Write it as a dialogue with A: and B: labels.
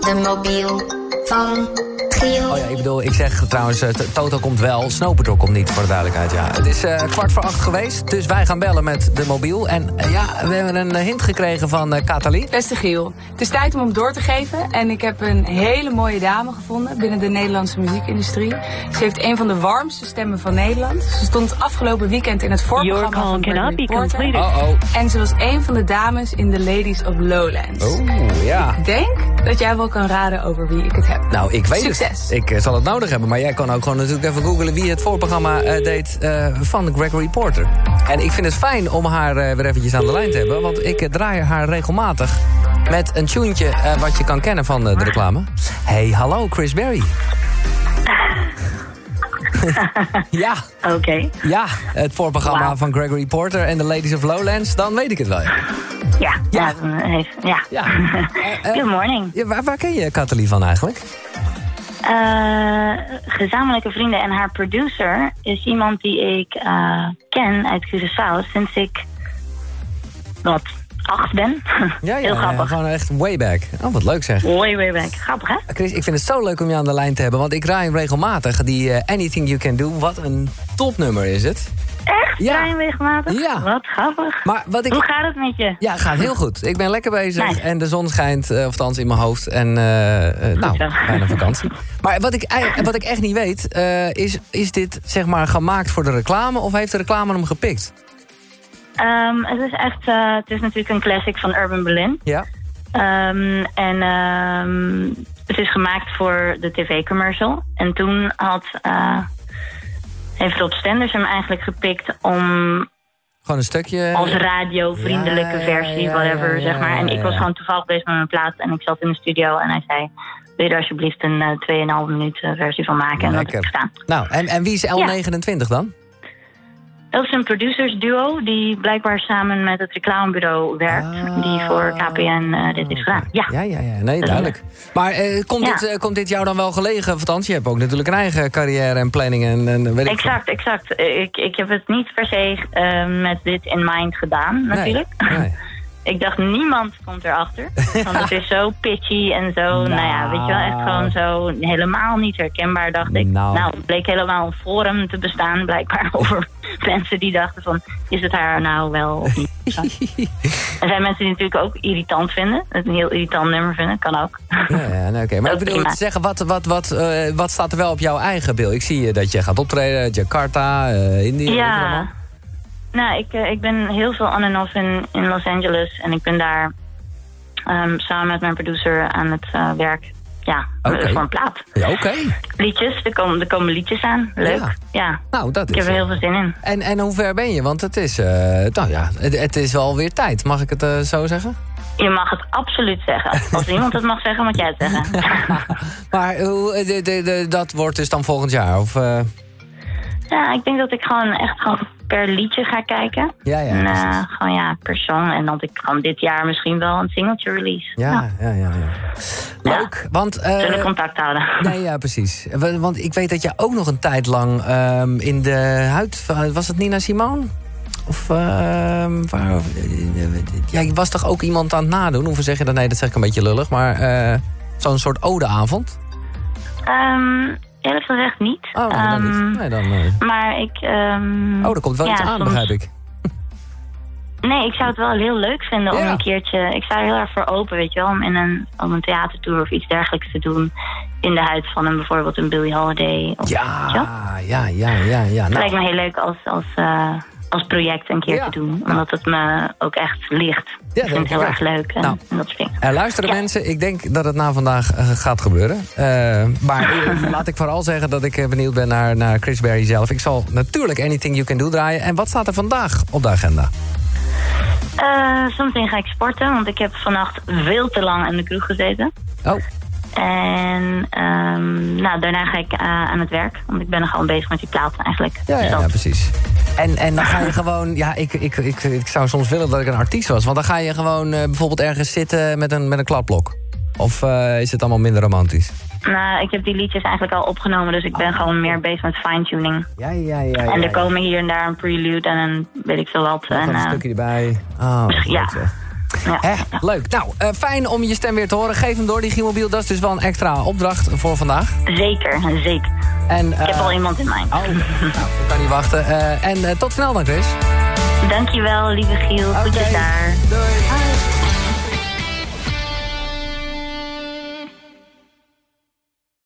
A: de mobiel van Giel.
B: Oh ja, ik bedoel, ik zeg trouwens, eh, T- Toto komt wel, Snowpatrol komt niet, voor de duidelijkheid. Ja. Het is eh, kwart voor acht geweest, dus wij gaan bellen met de mobiel. En eh, ja, we hebben een eh, hint gekregen van eh Kathalie.
C: Beste Giel, het is tijd om hem door te geven. En ik heb een hele mooie dame gevonden binnen de Nederlandse muziekindustrie. Ze heeft een van de warmste stemmen van Nederland. Ze stond afgelopen weekend in het
D: Your
C: voorprogramma
D: call
C: van
D: cannot
C: Gregory
D: be
C: Porter.
D: completed.
B: Oh,
C: En ze was een van de dames in de Ladies of Lowlands.
B: oh. Oeh, ja.
C: Ik denk dat jij wel kan raden over wie ik het heb.
B: Nou, ik weet het.
C: Succes.
B: Ik eh, zal het nodig hebben. Maar jij kan ook gewoon natuurlijk even googlen wie het voorprogramma eh, deed eh, van Gregory Porter. En ik vind het fijn om haar eh, weer eventjes aan de lijn te hebben. Want ik eh, draai haar regelmatig met een tuentje eh, wat je kan kennen van eh, de reclame. Hey, hallo Chris Berry. ja,
D: Oké.
B: ja, het voorprogramma
D: Wauw.
B: van Gregory Porter en de Ladies of Lowlands. Dan weet ik het wel. ja.
D: Ja.
B: Ja.
D: Ja. dan heeft- ja.
B: Ja. Eh, eh.
D: Good morning.
B: Ja, waar, waar ken je Kathalie van eigenlijk?
D: Eh, gezamenlijke vrienden en haar producer is iemand die ik eh, ken uit Curaçao sinds ik wat acht ben. Heel grappig.
B: eh, gewoon echt way back. Oh, wat leuk zeg.
D: Way, way back. Grappig, hè?
B: Chris, ik vind het zo leuk om je aan de lijn te hebben. Want ik raai hem regelmatig. Die eh, Anything You Can Do. Wat een topnummer is het.
D: Echt?
B: Ja.
D: Klein regelmatig?
B: Ja.
D: Wat grappig.
B: Maar wat
D: Hoe
B: ik...
D: gaat het met je?
B: Ja, gaat heel goed. Ik ben lekker bezig
D: Nice.
B: en de zon schijnt, eh, of althans in mijn hoofd. En eh, eh, nou,
D: zo.
B: bijna vakantie. Maar wat ik, ei- wat ik echt niet weet, eh, is, is dit zeg maar gemaakt voor de reclame... of heeft de reclame hem gepikt?
D: Ehm, het is echt, eh, het is natuurlijk een classic van Urban Berlin.
B: Ja?
D: Ehm, en ehm, het is gemaakt voor de tv-commercial. En toen had, eh, heeft Rob Stenders hem eigenlijk gepikt om
B: Gewoon een stukje...
D: als radiovriendelijke
B: ja,
D: versie,
B: ja,
D: whatever,
B: ja,
D: zeg maar. En
B: ja,
D: ik was
B: ja.
D: gewoon toevallig bezig met mijn plaat en ik zat in de studio en hij zei... Wil je er alsjeblieft een eh, 2,5 minuut eh, versie van maken? En dat heb ik
B: Lekker.
D: gedaan.
B: Nou, en, en wie is L29 dan?
D: Dat is een producersduo die blijkbaar samen met het reclamebureau werkt.
B: Ah.
D: Die voor KPN eh, dit is gedaan. Ja.
B: Ja, ja, ja. Nee, duidelijk. Maar eh, komt,
D: Ja.
B: dit, eh, komt dit jou dan wel gelegen? Althans, je hebt ook natuurlijk een eigen carrière en planning en, en weet ik veel.
D: Exact, exact. Ik, ik heb het niet per se eh, met dit in mind gedaan, natuurlijk.
B: Nee, nee.
D: Ik dacht, niemand komt erachter. Want het is zo pitchy en zo, nou, ja, weet je wel, echt gewoon zo helemaal niet herkenbaar, dacht ik.
B: Nou.
D: nou het bleek helemaal een forum te bestaan, blijkbaar, over mensen die dachten van, is het haar nou wel of niet? Er zijn mensen die het natuurlijk ook irritant vinden, het een heel irritant nummer vinden, kan ook.
B: Ja, ja, nee, oké. Maar ik
D: Ook
B: bedoel
D: prima.
B: te zeggen, wat, wat, wat, eh, wat staat er wel op jouw eigen beeld? Ik zie eh, dat je gaat optreden, Jakarta, eh India. overal.
D: Ja. Nou, ik, eh, ik ben heel veel on en off in, in Los Angeles. En ik ben daar ehm, samen met mijn producer aan het eh, werk. Ja,
B: Oké.
D: voor een plaat.
B: Ja, oké.
D: Liedjes, er komen, er komen liedjes aan. Leuk.
B: Ja.
D: Ja,
B: Nou, dat
D: ik
B: is...
D: heb er heel
B: eh,
D: veel zin in.
B: en, en hoe ver ben je? Want het is, eh, nou ja, het, het is wel weer tijd. Mag ik het eh, zo zeggen?
D: Je mag het absoluut zeggen. Als iemand het mag zeggen, moet jij het zeggen.
B: Maar hoe, eh, de, de, de- dat wordt dus dan volgend jaar? Of, eh,
D: ja, ik denk dat ik gewoon echt gewoon per liedje ga kijken.
B: Ja, ja,
D: En, eh,
B: precies.
D: gewoon ja, per song. En dat ik gewoon dit jaar misschien wel een singeltje release.
B: ja, ja, ja, ja. Leuk, want... eh,
D: Zullen we contact houden?
B: Nee, ja, precies. Wa- Want ik weet dat je ook nog een tijd lang ehm, in de huid... van- Was het Nina Simone? Of ehm, waar... of- Ja, je was toch ook iemand aan het nadoen? Hoe zeg je dat? Nee, dat zeg ik een beetje lullig. Maar eh, zo'n soort odeavond?
D: Ehm, eerlijk gezegd niet.
B: Oh, nee, dan
D: Ehm,
B: niet. Nee, dan, eh.
D: Maar ik. ehm,
B: Oh, er komt wel
D: ja,
B: iets aan,
D: soms-
B: begrijp ik.
D: Nee, ik zou het wel heel leuk vinden om
B: Ja.
D: een keertje. Ik sta er heel erg voor open, weet je wel. Om, in een, om een theatertour of iets dergelijks te doen. In de huid van een bijvoorbeeld een Billie Holiday. Of, weet je wel.
B: Ja, ja, ja, ja. ja. Nou,
D: Het lijkt me heel leuk als, als, eh, als project een keer
B: Ja.
D: te doen. Omdat het me ook echt ligt.
B: dat
D: ik
B: denk
D: vind het heel
B: ik
D: erg
B: ook.
D: leuk. En,
B: Nou.
D: en dat soort dingen.
B: Er luisteren
D: Ja.
B: mensen, ik denk dat het na vandaag eh, gaat gebeuren. Eh, maar eh, laat ik vooral zeggen dat ik eh, benieuwd ben naar, naar Chris Berry zelf. Ik zal natuurlijk Anything You Can Do draaien. En wat staat er vandaag op de agenda?
D: Eh, zometeen ga ik sporten, want ik heb vannacht veel te lang in de kroeg gezeten.
B: Oh,
D: En ehm, nou, daarna ga ik eh, aan het werk. Want ik ben nog gewoon bezig met die plaat eigenlijk.
B: ja,
D: Dus
B: ja,
D: dat-
B: ja precies. En, en dan ga je gewoon... Ja, ik, ik, ik, ik zou soms willen dat ik een artiest was. Want dan ga je gewoon eh, bijvoorbeeld ergens zitten met een, met een klapblok. Of eh, is het allemaal minder romantisch?
D: Nou, ik heb die liedjes eigenlijk al opgenomen, dus ik ben gewoon meer bezig met fine-tuning.
B: Ja, ja, ja.
D: en er komen hier en daar een prelude en een weet ik veel wat. En,
B: een
D: eh,
B: stukje erbij. Oh, wat leuk
D: Ja.
B: zeg.
D: Ja.
B: Hè? Leuk. Nou, eh, fijn om je stem weer te horen. Geef hem door, die Gielmobiel. Dat is dus wel een extra opdracht voor vandaag.
D: Zeker, zeker.
B: En,
D: Ik heb al iemand in mind.
B: Oh, nou, ik kan niet wachten. Eh, en eh, tot snel dan, Chris.
D: Dankjewel, lieve Giel. Goedjes
B: Oké.
D: daar.
B: Doei.